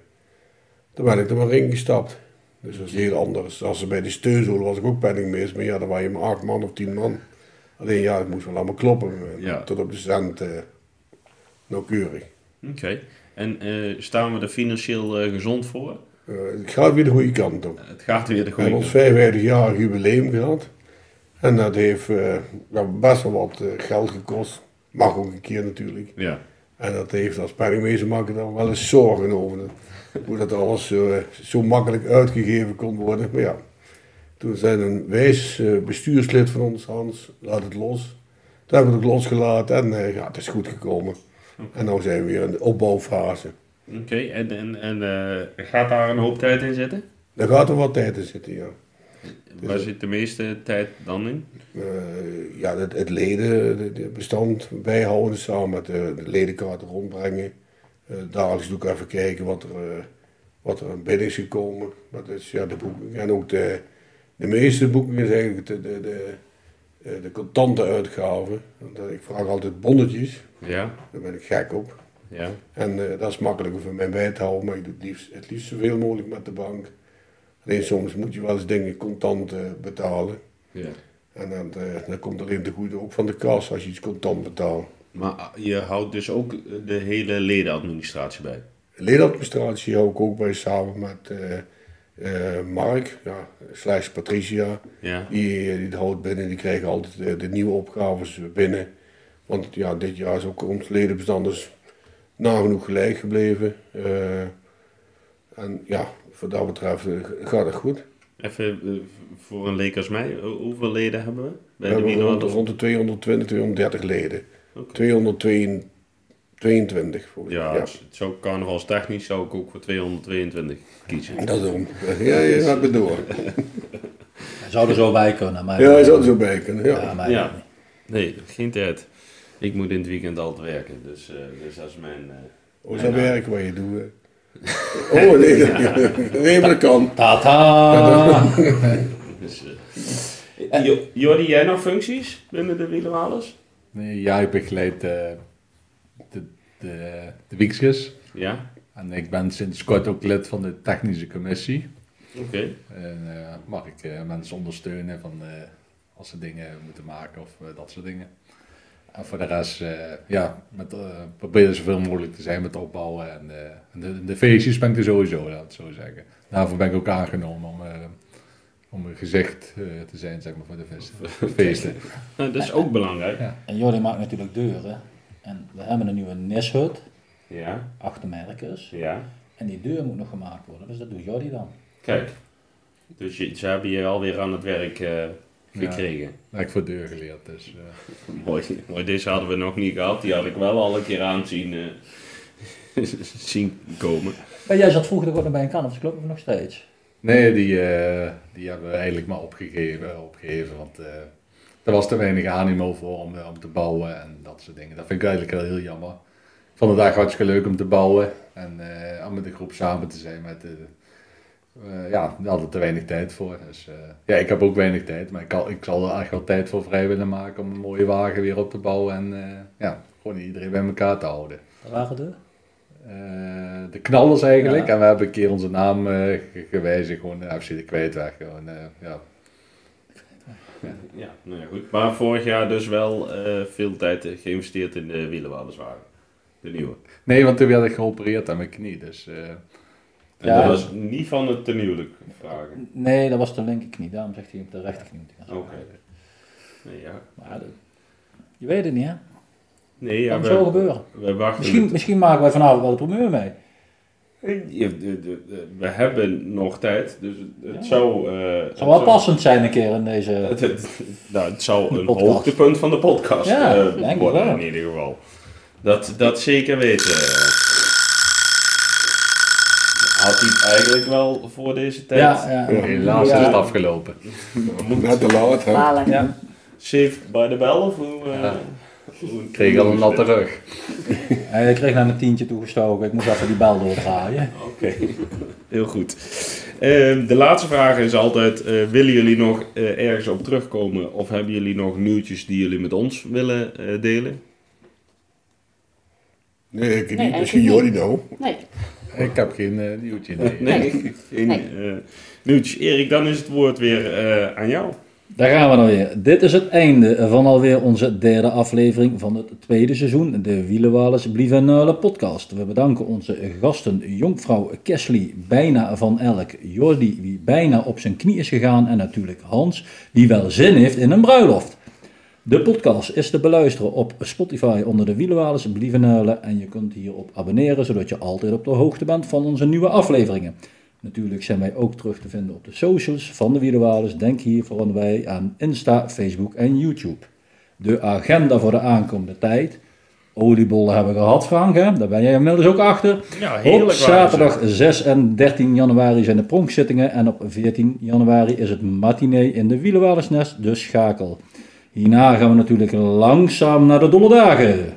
Speaker 2: Toen ben ik er maar in gestapt. Dus dat is heel anders. Als ze bij de steunzool was ik ook penningmeester, maar ja, dan was je maar acht man of tien man. Alleen ja, het moest wel allemaal kloppen.
Speaker 3: Ja.
Speaker 2: Tot op de cent eh, nauwkeurig.
Speaker 3: Oké. En eh, staan we er financieel eh, gezond voor?
Speaker 2: Eh, het gaat weer de goede kant op.
Speaker 3: Eh, het gaat weer de
Speaker 2: We
Speaker 3: goede
Speaker 2: hebben ons
Speaker 3: kant.
Speaker 2: 55 jaar jubileum gehad. En dat heeft eh, ja, best wel wat eh, geld gekost. Mag ook een keer natuurlijk.
Speaker 3: Ja.
Speaker 2: En dat heeft als penningmeester maken dan wel eens zorgen over. dat- Hoe dat alles zo, eh, zo makkelijk uitgegeven kon worden. Maar ja, toen zei een wijs eh, bestuurslid van ons, Hans, laat het los. Toen hebben we het ook losgelaten en eh, ja, het is goed gekomen. En nu zijn we weer in de opbouwfase.
Speaker 3: Oké. En, en, en eh, gaat daar een hoop tijd in zitten?
Speaker 2: Daar gaat er wat tijd in zitten, ja.
Speaker 3: Waar zit de meeste tijd dan in?
Speaker 2: Eh, ja, het, het leden, de- de bestand bijhouden samen met de, de ledenkaarten rondbrengen. Eh, dagelijks doe ik even kijken wat er, eh, wat er binnen is gekomen. Dat is ja, de boeking. En ook de, de meeste boekingen zijn eigenlijk de, de, de, eh, de contante uitgaven. Want, eh, Ik vraag altijd bonnetjes,
Speaker 3: Ja.
Speaker 2: daar ben ik gek op.
Speaker 3: Ja.
Speaker 2: En eh, dat is makkelijker voor mij bij te houden, maar ik doe het liefst, het liefst zoveel mogelijk met de bank. Alleen soms moet je wel eens dingen contant eh, betalen.
Speaker 3: ja.
Speaker 2: En dan, eh, dan komt alleen de goede ook van de kas als je iets contant betaalt.
Speaker 3: Maar ah, je houdt dus ook eh, de hele ledenadministratie bij.
Speaker 2: Ledenadministratie hou ik ook bij samen met eh, eh, Mark, ja, slash Patricia.
Speaker 3: Ja.
Speaker 2: Die, eh, die houdt binnen, die krijgen altijd eh, de nieuwe opgaves binnen. Want ja, dit jaar is ook ons ledenbestand dus nagenoeg gelijk gebleven. Eh, en ja, wat dat betreft eh, gaat het goed.
Speaker 3: Even eh, voor een leek als mij, ho- hoeveel leden hebben we?
Speaker 2: We
Speaker 3: Bij de
Speaker 2: hebben rond,
Speaker 3: Wienerwand?
Speaker 2: rond de 220, 230 leden.
Speaker 3: Oké.
Speaker 2: 222 volgens
Speaker 3: Ja, het is- het is ook carnavalstechnisch zou ik ook voor 222 kiezen.
Speaker 2: Dat is om. Ja, je gaat me door.
Speaker 1: Hij zou er zo bij kunnen, maar...
Speaker 2: Ja, hij zou er zo bij kunnen. Ja.
Speaker 1: Ja, mij
Speaker 3: Ja.
Speaker 1: niet.
Speaker 3: Nee, geen tijd. Ik moet in het weekend al te werken, dus, eh, dus dat is mijn... eh,
Speaker 2: Hoe zou werken wat je doet? hè? Oh nee, dat, nee, maar dat kan.
Speaker 1: Tata!
Speaker 3: Dus, eh, Jo- Jordi, jij nog functies binnen de wielerwalers?
Speaker 5: Nee, jij begeleidt eh, de, de, de wiekskes.
Speaker 3: Ja?
Speaker 5: En ik ben sinds kort ook lid van de technische commissie.
Speaker 3: Oké.
Speaker 5: En eh, mag ik eh, mensen ondersteunen van, eh, als ze dingen moeten maken of eh, dat soort dingen. En voor de rest, eh, ja, met, eh, proberen zoveel mogelijk te zijn met opbouwen. En eh, en de, de feestjes ben ik er sowieso, laat ik het zo zeggen. Daarvoor ben ik ook aangenomen om, eh, om een gezicht eh, te zijn, zeg maar, voor de feesten. feesten.
Speaker 3: Nou, dat is ook belangrijk.
Speaker 5: Ja.
Speaker 1: En Jordi maakt natuurlijk deuren. En we hebben een nieuwe nishut,
Speaker 3: Ja,
Speaker 1: achtermerkers.
Speaker 3: ja.
Speaker 1: En die deur moet nog gemaakt worden, dus dat doet Jordi dan.
Speaker 3: Kijk. Dus je, ze hebben je alweer aan het werk eh, gekregen.
Speaker 5: Heb ik voor deur geleerd, dus... eh.
Speaker 3: Mooi. Mooi, deze hadden we nog niet gehad. Die had ik wel al een keer aan zien, eh, zien komen.
Speaker 1: En jij zat vroeger ook nog bij een kan, of klopt nog steeds.
Speaker 5: Nee, die, eh, die hebben we eigenlijk maar opgegeven. opgegeven want eh, er was te weinig animo voor om, eh, om te bouwen en dat soort dingen. Dat vind ik eigenlijk wel heel jammer. Ik vond het eigenlijk hartstikke leuk om te bouwen en eh, om met de groep samen te zijn. Met, de- eh, ja, daar hadden we te weinig tijd voor. Dus, eh, ja, ik heb ook weinig tijd, maar ik, kan, ik zal er echt wel tijd voor vrij willen maken om een mooie wagen weer op te bouwen. En eh, ja, gewoon iedereen bij elkaar te houden.
Speaker 1: Dat waren de?
Speaker 5: Eh, de knallers eigenlijk.
Speaker 1: Ja.
Speaker 5: En we hebben een keer onze naam eh, ge- gewijzigd, gewoon eh, FC de Kwijtweg. Gewoon, eh, ja.
Speaker 3: Ja, nou ja, goed. Maar vorig jaar dus wel eh, veel tijd eh, geïnvesteerd in de wielenwaardenswagen. De nieuwe.
Speaker 5: Nee, want toen werd ik geopereerd aan mijn knie. Dus eh,
Speaker 3: En
Speaker 1: Ja.
Speaker 3: dat was niet van het ten huwelijk vragen.
Speaker 1: Nee, dat was de linkerknie, daarom zegt hij op de rechterknie moet hij gaan.
Speaker 3: Oké. Nee, ja.
Speaker 1: Maar dat- je weet het niet, hè?
Speaker 3: Nee, ja,
Speaker 1: Kan
Speaker 3: we,
Speaker 1: zo gebeuren.
Speaker 3: we wachten.
Speaker 1: Misschien, misschien maken wij vanavond wel de primeur mee.
Speaker 3: met- Ja, de- de- de- we hebben nog tijd, dus het, het zou... eh,
Speaker 1: Het zou wel
Speaker 3: het
Speaker 1: passend zijn een keer in deze...
Speaker 3: Het, het- nou, het zou een
Speaker 1: podcast.
Speaker 3: hoogtepunt van de podcast
Speaker 1: Ja,
Speaker 3: eh,
Speaker 1: denk ik
Speaker 3: worden
Speaker 1: wel.
Speaker 3: in ieder geval. Dat, dat zeker weten. Had hij het eigenlijk wel voor deze tijd?
Speaker 1: Ja, ja.
Speaker 5: helaas is
Speaker 1: Ja.
Speaker 5: het afgelopen.
Speaker 2: Net te laat, hè?
Speaker 4: Balen.
Speaker 1: ja.
Speaker 3: Saved by the bell of hoe... eh,
Speaker 5: Ja.
Speaker 3: hoe-
Speaker 5: Ik kreeg al een natte rug.
Speaker 1: Hij kreeg naar een tientje toegestoken, ik moest even die bel doordraaien.
Speaker 3: Oké, heel goed. Ehm, de laatste vraag is altijd: eh, willen jullie nog eh, ergens op terugkomen of hebben jullie nog nieuwtjes die jullie met ons willen eh, delen?
Speaker 2: Nee, ik niet.
Speaker 4: eigenlijk
Speaker 2: Misschien
Speaker 4: niet.
Speaker 2: Jordi nou.
Speaker 4: Nee,
Speaker 5: Ik heb geen eh, nieuwtje. Nee.
Speaker 3: geen eh, nieuwtjes. Erik, dan is het woord weer eh, aan jou.
Speaker 1: Daar gaan we dan weer. Dit is het einde van alweer onze derde aflevering van het tweede seizoen, de Wielenwalers Blieven Nuilen podcast. We bedanken onze gasten, jonkvrouw Kesley, bijna van Elk, Jordi, die bijna op zijn knie is gegaan, en natuurlijk Hans, die wel zin heeft in een bruiloft. De podcast is te beluisteren op Spotify onder de Wielenwalers Blieven Nuilen en je kunt hierop abonneren, zodat je altijd op de hoogte bent van onze nieuwe afleveringen. Natuurlijk zijn wij ook terug te vinden op de socials van de Wielerwalers. Denk hiervoor aan wij aan Insta, Facebook en YouTube. De agenda voor de aankomende tijd. Oliebollen hebben we gehad, Frank. Hè? Daar ben jij inmiddels ook achter.
Speaker 3: Ja,
Speaker 1: Op zaterdag 6 en 13 januari zijn de pronkzittingen. En op 14 januari is het matinee in de Wielerwalersnest, de Schakel. Hierna gaan we natuurlijk langzaam naar de dolle dagen.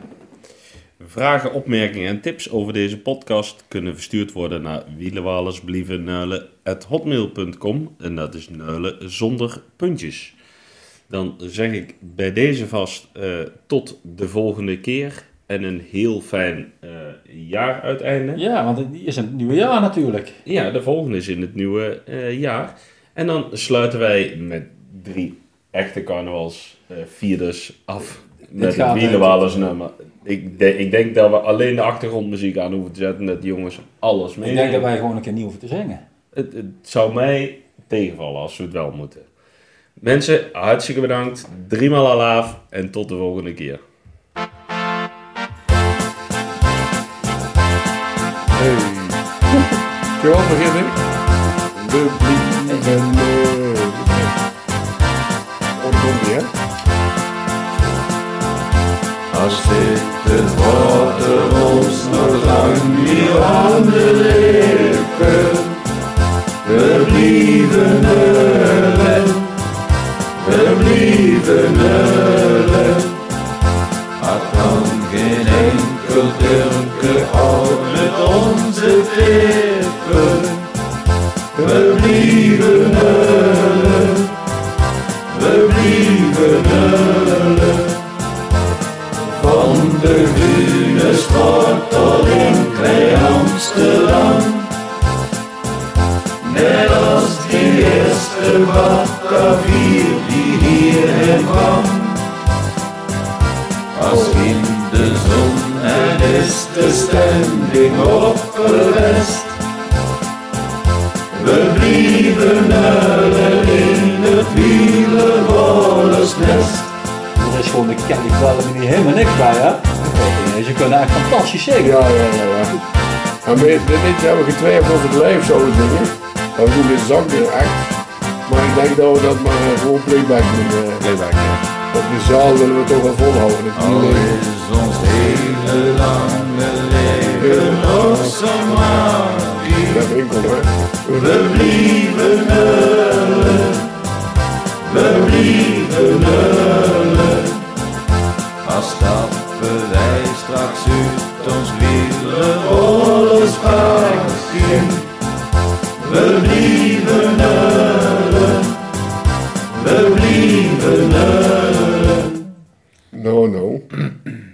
Speaker 3: Vragen, opmerkingen en tips over deze podcast kunnen verstuurd worden naar wielenwalersblievennuilen.hotmail.com en dat is nuilen zonder puntjes. Dan zeg ik bij deze vast eh, tot de volgende keer en een heel fijn eh, jaar uiteinde.
Speaker 1: Ja, want die is in het nieuwe jaar natuurlijk.
Speaker 3: Ja, de volgende is in het nieuwe eh, jaar. En dan sluiten wij met drie echte carnavalsvierders af. Met het
Speaker 1: gaat
Speaker 3: Wielenwalersnummer. Ik, de- ik denk dat we alleen de achtergrondmuziek aan hoeven te zetten. Dat de jongens alles mee.
Speaker 1: Ik denk dat wij gewoon een keer nieuw hoeven te zingen.
Speaker 3: het, het zou mij tegenvallen als we het wel moeten. Mensen, hartstikke bedankt. Driemaal alaaf en tot de volgende keer.
Speaker 2: Hey. Zullen we al beginnen? De blieven. Oh, dat komt niet, hè?
Speaker 6: Als dit het water ons nog lang niet aan de lippen, we blieven nullen, we blieven nullen. Had dan geen enkel durke oud met onze tippen, we blieven nullen, we blieven nullen. Van de Grune stort tot in Klei Amstel.
Speaker 7: de batavier die hierheen kwam. Als in de zon en is de stemming opgewest. We blieven huilen in het wielenwollersnest.
Speaker 1: Er is gewoon de Kelly Kwellen die helemaal niks bij, hè? Ze kunnen echt fantastisch zingen.
Speaker 5: Ja, ja, ja. ja. En we, dit lied hebben we getwijfeld of we het live zouden zingen. Dat we doen de zang weer echt. Maar ik denk dat we dat maar eh, gewoon playback doen. eh.
Speaker 8: Playback, ja.
Speaker 5: Op de zaal willen we toch wel volhouden. Het
Speaker 7: Al
Speaker 5: is niet
Speaker 7: Oh, is ons hele lange leven nog zo magisch.
Speaker 5: dat winkel, hè.
Speaker 7: We blieven huilen, we blieven huilen. Als stappen wij straks uit ons wielenrollers pakken. We blieven huilen, we blieven huilen.
Speaker 5: No, no.